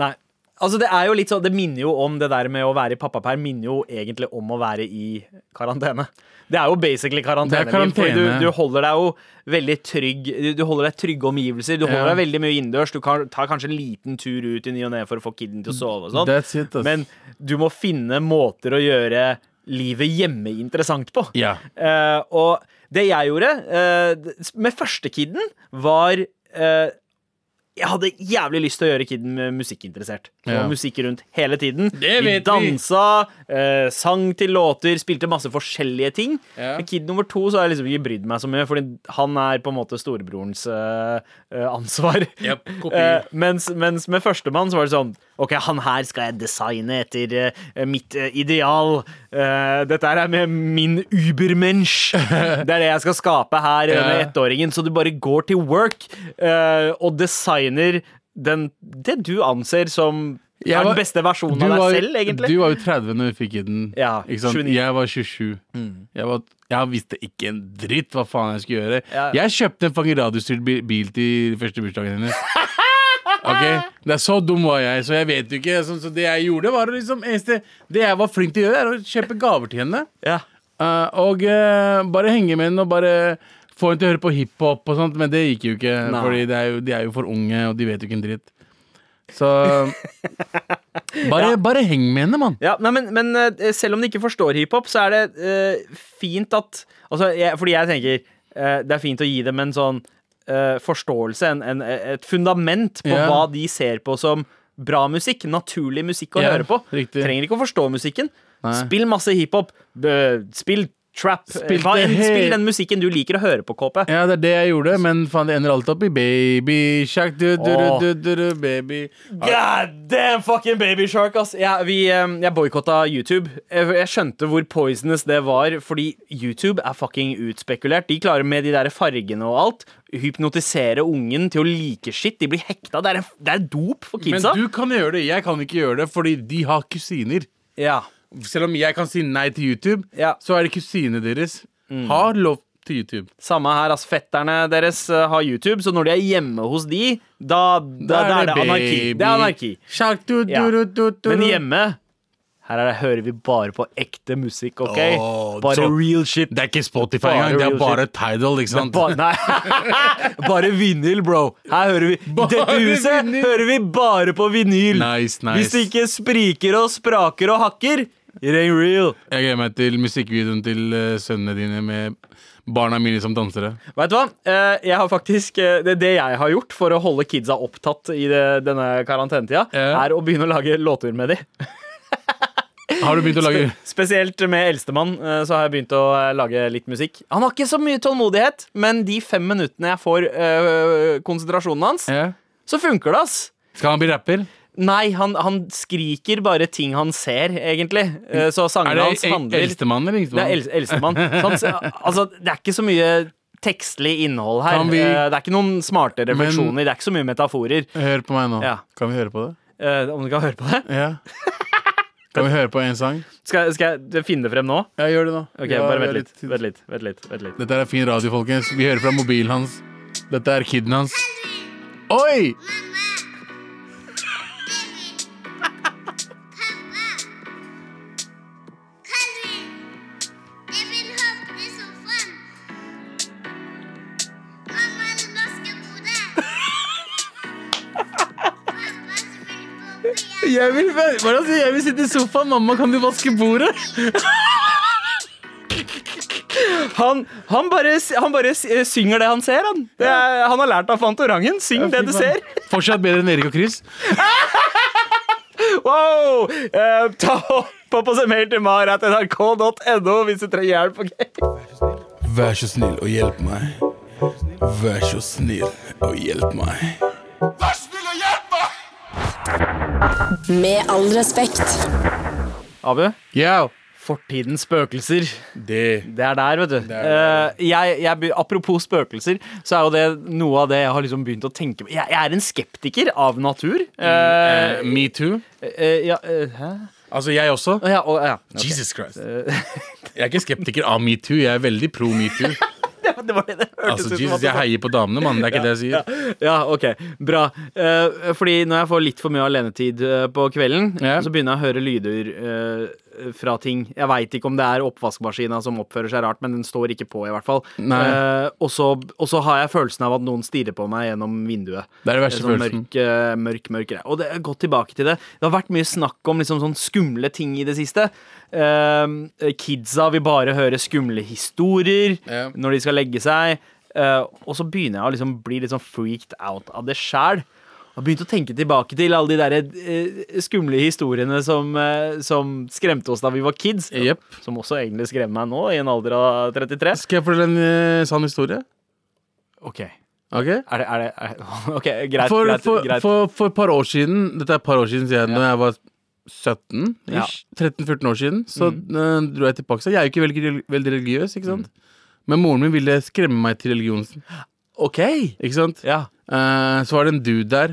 Nei. Altså, det er jo litt sånn Det minner jo om det der med å være i pappaperm, minner jo egentlig om å være i karantene. Det er jo basically karantene. Det er karantene. fordi Du, du holder deg jo veldig trygg Du, du holder deg trygge omgivelser. Du holder Ja. deg veldig mye innendørs. Du kan, tar kanskje en liten tur ut i ny og ne for å få kiden til å sove og sånn. That's it, ass. Men du må finne måter å gjøre livet hjemme interessant på. Ja. Eh, og det jeg gjorde eh, d- med første kiden, var eh, Jeg hadde jævlig lyst til å gjøre kiden eh, musikkinteressert. Det var Ja. musikk rundt hele tiden. vi vet vi. dansa, eh, sang til låter, spilte masse forskjellige ting. Ja. Med kid nummer to så har jeg liksom ikke brydd meg så mye, Fordi han er på en måte storebrorens eh, eh, ansvar. Jep, kopi. Eh, mens, mens med førstemann så var det sånn OK, han her skal jeg designe etter eh, mitt eh, ideal. Eh, dette her er med min ubermensch. Det er det jeg skal skape her, denne Ja. ettåringen. Så du bare går til work eh, og designer den, det du anser som Jeg er var- den beste versjonen Du av deg var- selv, egentlig. Du var jo 30 når vi fikk kiden. Ja, Mm. ikke sant? 29. Jeg var 27. Jeg, var, jeg visste ikke en dritt hva faen jeg skulle gjøre. Ja. Jeg kjøpte en fucking radiostyrt bi- bil til første bursdagen hennes. Ok, det er Så dum var jeg, så jeg vet jo ikke. Så, så det jeg gjorde, var å liksom eneste, Det jeg var flink til å gjøre, er å kjøpe gaver til henne. Ja. Eh, og eh, bare henge med henne og bare få henne til å høre på hiphop og sånt, men det gikk jo ikke. Nei. Fordi det er jo, de er jo for unge, og de vet jo ikke en dritt. Så bare, bare heng med henne, mann. Ja, nei, men, men eh, selv om de ikke forstår hiphop, så er det eh, fint at altså, jeg, Fordi jeg tenker eh, det er fint å gi dem en sånn eh, forståelse, en, en, et fundament på Ja. hva de ser på som bra musikk. Naturlig musikk å Ja, høre på. riktig. Trenger ikke å forstå musikken. Spill masse hiphop. b- Spill trap. Spill Hva det enn- he- spill den musikken du liker å høre på, KP. Ja, det er det jeg gjorde, men faen, det ender alltid opp i baby shark, du, du, du, Åh. du, du, du, baby. God damn fucking baby shark, ass. Jeg, vi, eh, jeg boikotta YouTube. Jeg, jeg skjønte hvor poisonous det var, fordi YouTube er fucking utspekulert. De klarer med de der fargene og alt hypnotisere ungen til å like shit. De blir hekta. Det er, en, det er dop for Men kidsa. du kan gjøre det, jeg kan ikke gjøre det, fordi de har kusiner. Ja. Selv om jeg kan si nei til YouTube, Ja. Mm. så er det kusinene deres. Har lov til YouTube. Samme her, ass. Fetterne deres eh, har YouTube, så når de er hjemme hos de, da, da, da er det anarki. Det er anarki. Shark, du, du, Ja. du, du, du, Men du. hjemme Her er det, hører vi bare på ekte musikk, OK? Åh, Bare så- real shit. Det er ikke Spotify Bare engang, det real er bare Tidal, ikke sant? Ba nei. bare vinyl, bro. Her hører vi Bare Dette huset vinyl. hører vi bare på vinyl. Nice, nice. Hvis det ikke spriker og spraker og hakker, it ain't real. Jeg gleder meg til musikkvideoen til eh, sønnene dine med barna mine som dansere. Vet du hva? Eh, Jeg har faktisk, eh, det, det jeg har gjort for å holde kidsa opptatt i det, denne karantenetida, Ja. er å begynne å lage låter med dem. Har du begynt å lage Spesielt med eldstemann eh, så har jeg begynt å eh, lage litt musikk. Han har ikke så mye tålmodighet, men de fem minuttene jeg får eh, konsentrasjonen hans, Ja. så funker det, ass. Skal han bli rapper? Nei, han, han skriker bare ting han ser, egentlig. Eh, Så Er sangene det hans e- handler eldstemann eller Det er yngstemann? el- eldstemann. Så han ser- altså, det er ikke så mye tekstlig innhold her. Kan vi- Eh, Det er ikke noen smarte refleksjoner, det er ikke så mye metaforer. Hør på meg nå. Ja. Kan vi høre på det? Eh, Om du kan høre på det? Ja. Kan vi høre på en sang? Skal, skal jeg finne det frem nå? Ja, gjør det nå. Ok, Ja, Bare vi vent har litt. tid. Vent litt, vent litt, vent litt. Dette er fin radio, folkens. Vi hører fra mobilen hans. Dette er kiden hans. Oi! Jeg vil, hvordan sier jeg vil sitte i sofaen. Mamma, kan du vaske bordet? Han, han, bare, s- han bare s- eh, synger det han ser, han. Det er, han har lært av Fantorangen. Syng det du ser. Fortsatt bedre enn Erik og Chris. Wow! Eh, ta Hopp opp oss en mail til mar.nrk.no hvis du trenger hjelp. ok? Vær så snill og hjelp meg. Vær så snill og hjelp meg. Med all respekt. Abu, Yeah. fortidens spøkelser. Det Det er der, vet du. Eh, jeg, jeg, be- apropos spøkelser, så er jo det noe av det jeg har liksom begynt å tenke på. Jeg, jeg er en skeptiker av natur. Eh, Eh, Me too. eh, ja, eh, hæ? Altså, jeg også. Å, ja, å, ja. Eh, Ok. Jesus Christ. Jeg er ikke skeptiker av metoo. Jeg er veldig pro metoo. Det var det det hørtes Altså, ut som Jesus, at du jeg sa. heier på damene, mann. Det er ikke det jeg sier. Ja, ok, bra Eh, Fordi når jeg får litt for mye alenetid eh, på kvelden Ja. Så begynner jeg å høre lyder eh, fra ting Jeg vet ikke om det er oppvaskmaskina som oppfører seg rart Men den står ikke på i hvert fall Nei. Eh, og, så, og så har jeg følelsen av at noen stirrer på meg gjennom vinduet Det er den verste Sånn følelsen. mørk, eh, mørk, mørk greie. Og det er gått tilbake til det. Det har vært mye snakk om liksom sånn skumle ting i det siste. Eh, kidsa vil bare høre skumle historier Ja. når de skal legge seg. Eh, og så begynner jeg å liksom bli litt sånn freaked out av det sjæl. Har begynt å tenke tilbake til alle de der, eh, skumle historiene som, eh, som skremte oss da vi var kids. Jepp. Som også egentlig skremmer meg nå, i en alder av 33. Skal jeg fortelle en eh, sann historie? Ok, er Ok? det, er det, er det Ok, greit. For, greit, for, greit. for, for et par år siden, dette er et par år siden, sier jeg, når jeg var 17 Ja. Mm. 13-14 år siden, så eh, dro jeg til Pakistan. Jeg er jo ikke veldig, veldig religiøs, ikke sant? Men moren min ville skremme meg til religionen, Ok! ikke sant? Ja. Eh, så var det en dude der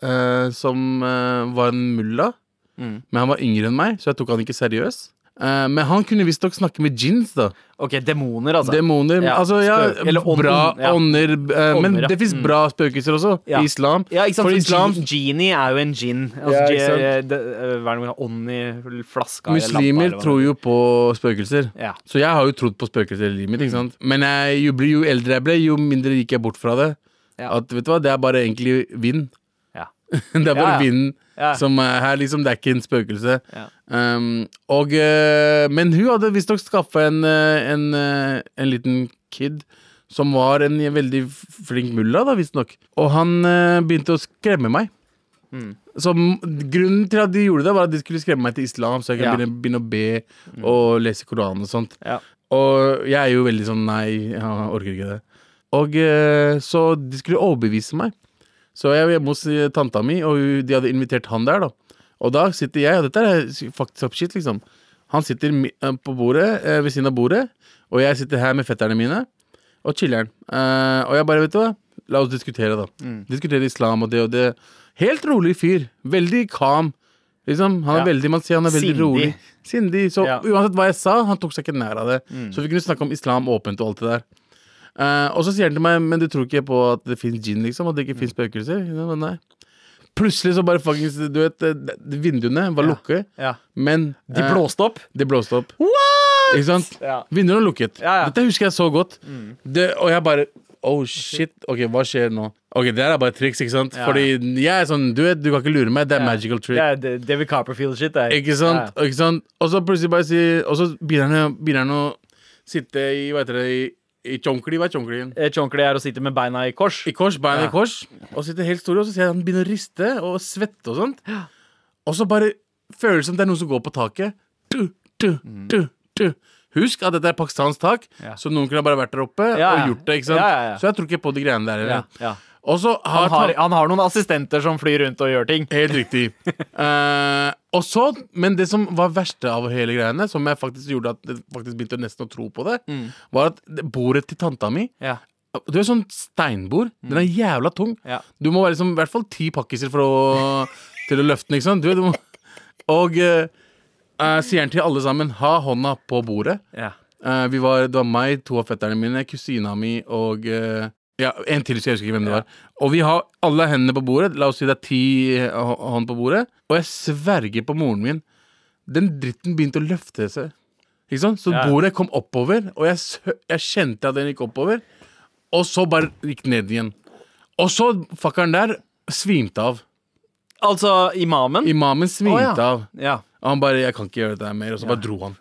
eh, som eh, var en mulla, Mm. men han var yngre enn meg, så jeg tok han ikke seriøs. Eh, men han kunne visstnok snakke med jinns, da. Ok, demoner, altså. Demoner. Ja, altså, ja, spøk- eller ånden, bra ja. ånder. eh, men Ånder, ja. Mm. det fins bra spøkelser også, Ja. i islam. Ja, ikke sant? For For islam- Genie, genie er jo en gin. Altså, Ja, ja, ikke sant? eh, Hva er det man kaller ånd i flaska? eller lampa, Muslimer eller hva tror det jo på spøkelser. Ja. Mm. Så jeg har jo trodd på spøkelser hele livet mitt. ikke sant? Men jeg, jo, bli- jo eldre jeg ble, jo mindre gikk jeg bort fra det. Ja. At vet du hva, Det er bare egentlig vind. Ja. det er Ja, ja. bare vinden Ja. som er her, liksom. Det er ikke en spøkelse. Ja. Um, og, eh, men hun hadde visstnok skaffa en, eh, en, eh, en liten kid som var en veldig flink mulla, da, visstnok. Og han eh, begynte å skremme meg. Mm. Som, grunnen til at de gjorde det, var at de skulle skremme meg til islam, så jeg kunne Ja. Mm. begynne, begynne å be og lese Koranen og sånt. Ja. Og jeg er jo veldig sånn nei, jeg orker ikke det. Og eh, så de skulle overbevise meg. Så jeg var hjemme hos eh, tanta mi, og hun- de hadde invitert han der, da. Og da sitter jeg, og dette er fucked up shit, liksom. Han sitter mi- eh, på bordet, eh, ved siden av bordet, og jeg sitter her med fetterne mine og chiller'n. Eh, og jeg bare, vet du hva, la oss diskutere, da. Mm. Diskutere islam og det og det. Helt rolig fyr. Veldig calm. Liksom, han er Ja. veldig, Man ser han er veldig Sindig. rolig. Sindig. Så Ja. Mm. uansett hva jeg sa, han tok seg ikke nær av det. Så vi kunne snakke om islam åpent og alt det der. Mm. Eh, og så sier han til meg, men du tror ikke på at det fins gin, liksom? At det ikke fins spøkelser? Ja, men nei. Plutselig så bare fuckings Du vet, eh, vinduene var lukket, ja. men De eh, blåste opp. de blåste opp. What?! Ikke sant? Ja. Vinduene var lukket. Ja, Mm. ja. Dette husker jeg så godt. Det, og jeg bare Oh shit, ok, hva skjer nå? Ok, Det her er bare triks, ikke sant? Ja. Fordi jeg er sånn, du vet, du kan ikke lure meg. Det er magical trick. Det er D- David Copperfield-shit. det her. Ikke sant? Ja. Ikke sant? Og så plutselig bare sier Og så begynner han, å- begynner han å sitte i Hva heter det? I, i tjonkli? Hva er tjonkli? Eh, Chonkli er å sitte med beina i kors. I kors, beina Ja. i kors. Og sitter helt stor, og så ser jeg han begynner å riste og svette og sånt. Og så bare føles det som det er noen som går på taket. Du, du, du, du. Husk at dette er pakistansk tak, Mm. Ja. så noen kunne bare vært der oppe Ja, ja. og gjort det. ikke sant? Ja, ja, ja. Så jeg tror ikke på de greiene der. Ja, eller? ja. Og så Han, har, har, tan- han har noen assistenter som flyr rundt og gjør ting. Helt riktig. Eh, og så, Men det som var verste av hele greiene, som jeg faktisk gjorde at jeg faktisk begynte nesten å tro på det, var at det- bordet til tanta mi Ja. Du er sånn steinbord. Den er jævla tung. Ja. Du må være liksom, i hvert fall ti pakkiser for å, til å løfte den. ikke sant? Du, du må, og eh, eh, sier den til alle sammen ha hånda på bordet. Ja. Eh, vi var, det var meg, to av fetterne mine, kusina mi og eh, ja, en til, så jeg husker ikke hvem det var. Og vi har alle hendene på bordet. La oss si det er ti eh, hå- hånd på bordet. Og jeg sverger på moren min. Den dritten begynte å løfte seg. Ikke sant? Så Ja. bordet kom oppover, og jeg, sø- jeg kjente at den gikk oppover. Og så bare gikk den ned igjen. Og så fuckeren der svimte av. Altså imamen. Imamen Å, svimte ja. av. Ja. Og han bare 'Jeg kan ikke gjøre dette her mer', og så bare dro han.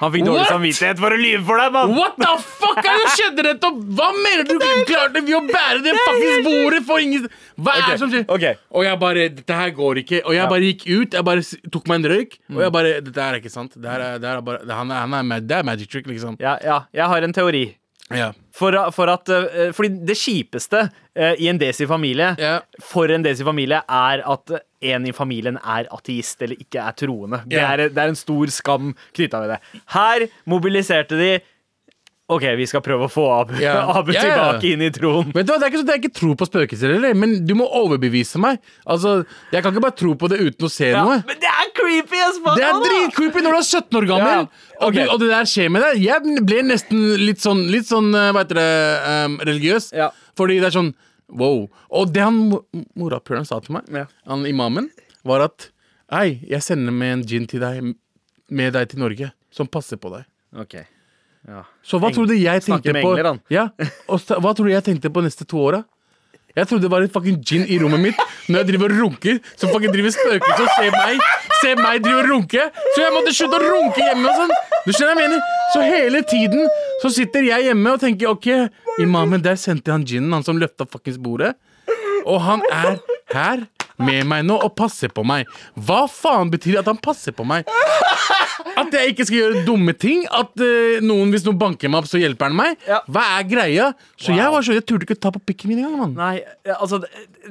Han fikk dårlig What? samvittighet for å lyve for deg, mann! What the fuck er det som skjedde nettopp? Hva mener du? Klarte vi å bære det fuckings bordet for ingen Hva er det som skjer? ok. Og jeg bare Dette her går ikke. Og jeg bare gikk ut. Jeg bare s- tok meg en røyk. Mm. Og jeg bare Dette her er ikke sant. Det her er, det her er bare det, han er, han er, ma- det er magic trick, liksom. Ja, ja, jeg har en teori. Ja. For, for at, eh, fordi det kjipeste eh, i en desi-familie Ja. for en desi-familie er at en i familien er ateist eller ikke er troende. Det Ja. er, det er en stor skam knytta ved det. Her mobiliserte de OK, vi skal prøve å få Abu, Ja. Abu Ja, ja. tilbake inn i troen. Vet du hva, Det er ikke sånn at jeg ikke tror på spøkelser heller, men du må overbevise meg. Altså, Jeg kan ikke bare tro på det uten å se Ja, noe. men det er creepy as fuck! Det er da, da. dritcreepy når du er 17 år Ja, gammel, og, ok. du, og det der skjer med deg. Jeg ble nesten litt sånn, litt sånn eh, hva heter det, ehm, religiøs. Ja. Fordi det er sånn wow. Og det han mo- morapuleren sa til meg, Ja. han imamen, var at Hei, jeg sender med en gin til deg, med deg til Norge, som passer på deg. Ok. Ja. Så hva tror du jeg Snakker tenkte med på engler, han. ja, og sta- Hva tror du jeg tenkte på neste to åra? Jeg trodde det var et fucking gin i rommet mitt når jeg driver og runker. Som fucking driver spøkelser og ser meg Se meg drive og runke. Så jeg måtte slutte å runke hjemme. og sånn Du skjønner hva jeg mener Så hele tiden så sitter jeg hjemme og tenker OK, imamen, der sendte han ginen, han som løfta fuckings bordet. Og han er her med meg nå og passer på meg. Hva faen betyr det at han passer på meg? At jeg ikke skal gjøre dumme ting? At eh, noen, hvis noen banker meg opp, så hjelper han meg? Ja. Hva er greia? Så jeg var så, jeg turte ikke ta på pikken min engang, mann. Nei, altså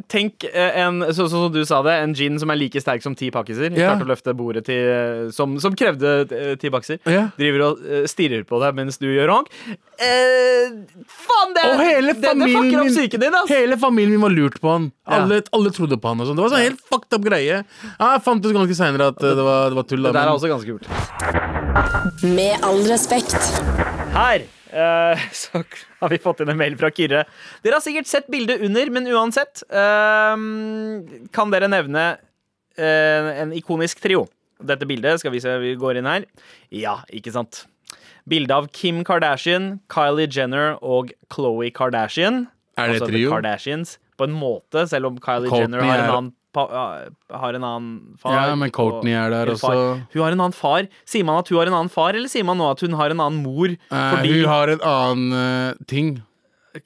Tenk eh, en, så, så, som du sa det, en gin som er like sterk som ti pakkiser. Ja. Klarte å løfte bordet til, eh, som, som krevde eh, ti pakkiser. Ja. Driver og eh, stirrer på deg mens du gjør honk. Eh, faen, det, Og hele det, det familien, fucker opp min, psyken din, ass! hele familien min var lurt på han. Alle, alle trodde på han. og sånn Det var sånn helt fucked up greie. Ja, jeg fant ut ganske seinere at eh, det var, det var tull. det Da, der er men, også ganske kult. Med all respekt. Her eh, så har vi fått inn en mail fra Kyrre. Dere har sikkert sett bildet under, men uansett eh, kan dere nevne eh, en ikonisk trio. Dette bildet skal vi se vi går inn her. Ja, ikke sant. Bilde av Kim Kardashian, Kylie Jenner og Khloé Kardashian. Er det Altså, trio? The Kardashians, på en måte, selv om Kylie Kourtney Jenner har en er- annen pa, ja, har en annen far. Ja, men Kourtney er der eller far. også. Hun har en annen far. Sier man at hun har en annen far, eller sier man nå at hun har en annen mor? eh, fordi Hun har en annen eh, ting.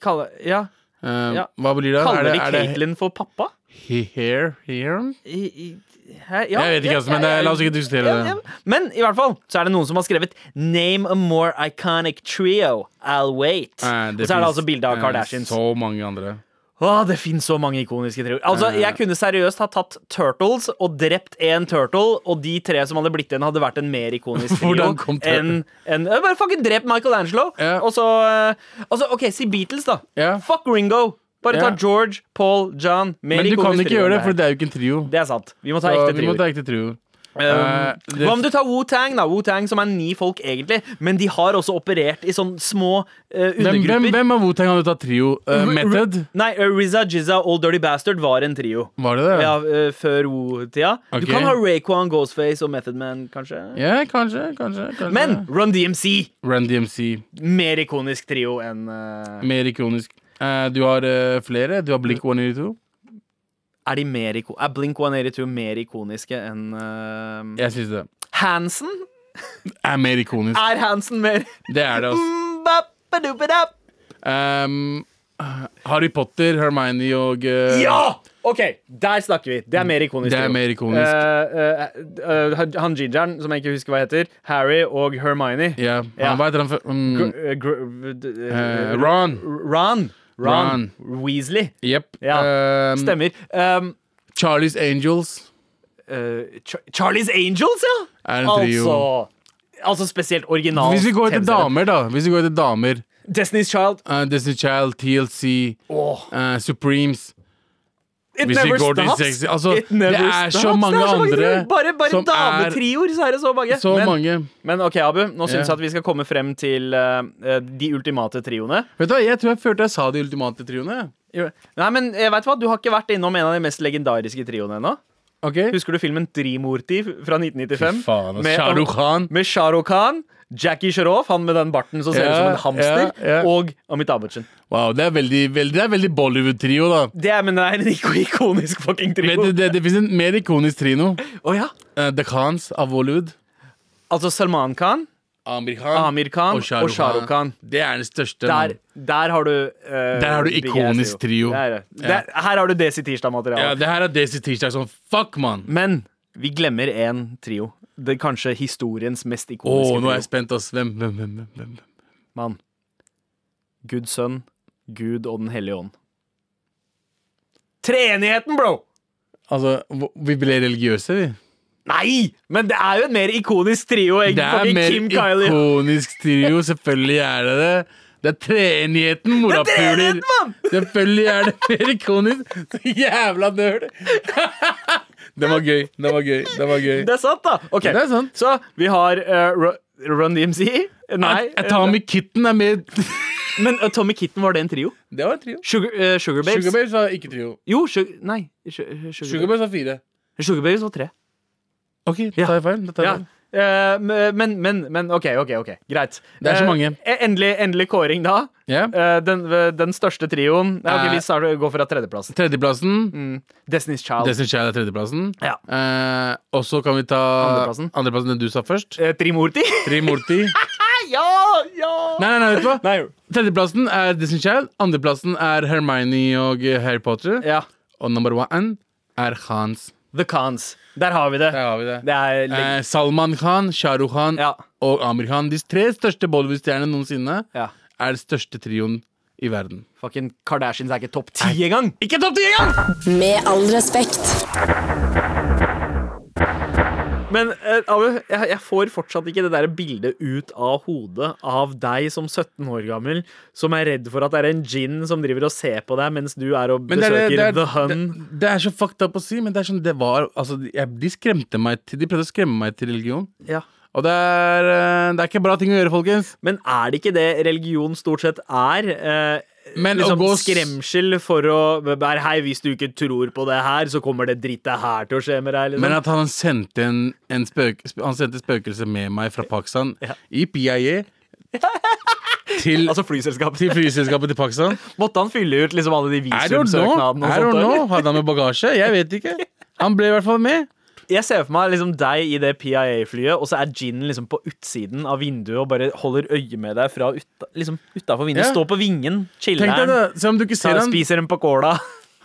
Kalle, ja. Eh, Ja. Hva blir det? Kaller vi er det, er det Caitlyn for pappa? he, here, here? I, i, hæ? Ja, Jeg vet ikke, ja, altså, men ja, det- ja, la oss ikke diskutere ja, det. ja. Men i hvert fall så er det noen som har skrevet 'Name a more iconic trio'. I'll wait. Og Eh, så er det finnes, altså bilde av eh, Kardashians. Så mange andre. Åh, det fins så mange ikoniske trioer. Altså, jeg kunne seriøst ha tatt Turtles og drept én turtle, og de tre som hadde blitt igjen, hadde vært en mer ikonisk trio Hvordan kom Tur- enn enn- Eh, Bare fucking drep Michelangelo, Ja. og så eh, Altså, OK, si Beatles, da. Ja. Fuck Ringo. Bare Ja. ta George, Paul, John. Mer Men du kan ikonisk ikke trio enn gjøre det, her. for det er jo ikke en trio. Det er sant. Vi må ta Så ekte vi må trioer. ta ekte trioer. Eh, det- Hva om du tar Wu-Tang, da? Wu-Tang som er ni folk egentlig, men de har også operert i sånne små eh, Hvem, undergrupper. hvem, hvem av Wu-Tang hadde tatt trio? Eh, Method? Nei, eh, RZA, Jizza og Dirty Bastard var en trio. Var det det? Ja, eh, før Wu-tida. Ok. Du kan ha Rayquan, Ghostface og Method Man, kanskje. Ja, kanskje, kanskje, kanskje. Men Run DMC! Run DMC. Mer ikonisk trio enn eh, Mer ikonisk. Eh, du har eh, flere. Du har Blink 182. Er de mer iko Er Blink 182 mer ikoniske enn eh, Jeg syns det Hansen? er mer ikonisk. Er Hansen mer Det er det, altså. Bappadubadab. Um, Harry Potter, Hermione og eh, Ja! OK, der snakker vi. Det er mer ikonisk. Det er jo. mer ikonisk. Eh, eh, eh, han gingeren, som jeg ikke husker hva heter, Harry og Hermione. Ja, Ja. han, Hva heter han for mm, Gr- eh, gr- d- d- eh, Ron. Ron. Ron. Weasley. Jepp. Ja, Um, Stemmer. Um, Charlies Angels eh, Char Charlies Angels, ja! er en trio. Altså, altså spesielt original. Hvis vi går etter TV-serie. damer, da. Hvis vi går etter damer Destiny's Child. eh, Destiny Child, TLC, Åh, eh, Supremes it, hvis vi never går til stops. sexy- altså, it never det er så stops. mange Det er så andre Bare, bare som er- dametrioer, så er det så mange. Så Men- mange. Men ok, Abu, nå syns Ja. jeg at vi skal komme frem til eh, de ultimate trioene. Vet du hva, Jeg tror jeg følte jeg sa de ultimate trioene. Nei, men eh, vet Du hva? Du har ikke vært innom en av de mest legendariske trioene ennå. Ok? Husker du filmen Drimurti fra 1995? Fy faen, ass. Med- Shah Rukh Khan. Med Shah Rukh Khan, Jackie Sharoff, han med den barten som ser ut Ja, som en hamster, ja, ja. og Amitabh Bachchan. Wow, det er veldig, veldig, det er veldig Bollywood-trio, da. Det er, men det er en iko- ikonisk fucking Men trio. det, det, det fins en mer ikonisk trino. Å ja. Eh, The Khans av Bollywood. Altså Salman Khan, Amir Khan, Amir Khan og Shah Rukh Khan. Det er den største. Der, der har du uh, Mm. Der har du ikonisk trio. Der, der, her har du Desi Tirsdag-materiale. Ja, det her er Daisy Tirsdag sånn fuck, mann! Men vi glemmer én trio. Det er kanskje historiens mest Å, ikoniske nå trio. er jeg spent, ass. Hvem, hvem, hvem? hvem, hvem? Mann. Guds sønn, Gud og Den hellige ånd. Treenigheten, bro! Altså, hva- vi ble religiøse, vi. Nei! Men det er jo en mer ikonisk trio. Ikke? Det er Fucking mer Kim Kylie. ikonisk trio, selvfølgelig er det det. Det er treenigheten, morapuler. treenigheten, mann! Selvfølgelig er det mer ikonisk. Så jævla nerd. Den var gøy. Den var gøy. Den var gøy. Det er sant, da. Ok, Det er sant. Så vi har eh, Ru- Run DMC. Nei, Atomic Kitten er med men eh, Tommy Kitten, var det en trio? Det var en trio. Sugar, eh, Sugar Babes? Sugar Babes var ikke trio. Jo, Sugar Nei. Su- Sugar, Sugar Babes. Babes var fire. Sugar Babes var tre. OK, da tar jeg feil. Da tar Ja. jeg feil. Eh, men, men, men OK, ok, ok, greit. Det er så Eh, mange. eh, endelig, endelig kåring, da. Ja. Eh, den, den største trioen Nei, ok, Eh. Vi starter, går fra tredjeplassen. Tredjeplassen. Destiny's Child. Destiny's Child er tredjeplassen. Ja. Eh, og så kan vi ta Andreplassen. andreplassen den du sa først. Eh, Trimurti. Trimurti. ja! Ja! Nei, nei, nei, vet du hva? Nei. Tredjeplassen er Disney Child. Andreplassen er Hermione og Harry Potter. Ja. Og number one er Khans. The Cons. Der har vi det. Der har vi det. Det er leg- Eh, Salman Khan, Shahrukh Khan Ja. og Amir Khan. De tre største Bollywood-stjernene noensinne Ja. er den største trioen i verden. Fucking Kardashians er ikke topp ti engang! Ikke topp ti engang! Med all respekt. Men eh, Abu, jeg, jeg får fortsatt ikke det der bildet ut av hodet av deg som 17 år gammel som er redd for at det er en gin som driver og ser på deg mens du er og Men det, besøker er, det, er, The det, Hun. det er så fucked up å si, men det er sånn det var altså, jeg, De skremte meg til De prøvde å skremme meg til religion. Ja. Og det er, eh, det er ikke bra ting å gjøre, folkens. Men er det ikke det religion stort sett er? Eh, Men å liksom gå s- Skremsel for å være Hei, hvis du ikke tror på det her, så kommer det drittet her til å skje med deg. Liksom. Men at han sendte en, en spøk, Han sendte spøkelse med meg fra Pakistan i PIA til, altså flyselskapet. til flyselskapet til Pakistan. Måtte han fylle ut liksom alle de I don't know. visumsøknadene? I og don't sånt, know. eller? Hadde han med bagasje? Jeg vet ikke. Han ble i hvert fall med. Jeg ser for meg liksom deg i det PIA-flyet, og så er ginen liksom på utsiden av vinduet og bare holder øye med deg fra ut, liksom utafor vinduet. Ja. Står på vingen, Tenk deg chiller'n, det, Se om du ikke ser han. spiser en pacola.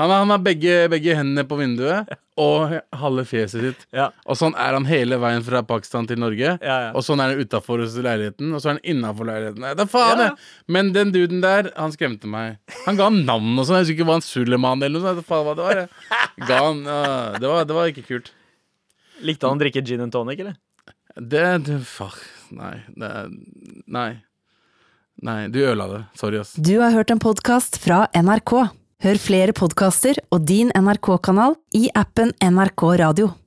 Han har, han har begge, begge hendene på vinduet og halve fjeset sitt. Ja. Og sånn er han hele veien fra Pakistan til Norge. Ja, ja. Og sånn er han utafor leiligheten, og så er han innafor leiligheten. Nei, da faen Ja, ja. jeg. Men den duden der, han skremte meg. Han ga ham navn og sånn. Jeg husker ikke hva han Suleman eller noe sånt. Da faen hva det var. jeg. Ga han, ja, det, var det var ikke kult. Likte han å drikke gin and tonic, eller? Det, det Fuck. Nei. Det, nei. Nei, du ødela det. Sorry, ass. Du har hørt en podkast fra NRK. Hør flere podkaster og din NRK-kanal i appen NRK Radio.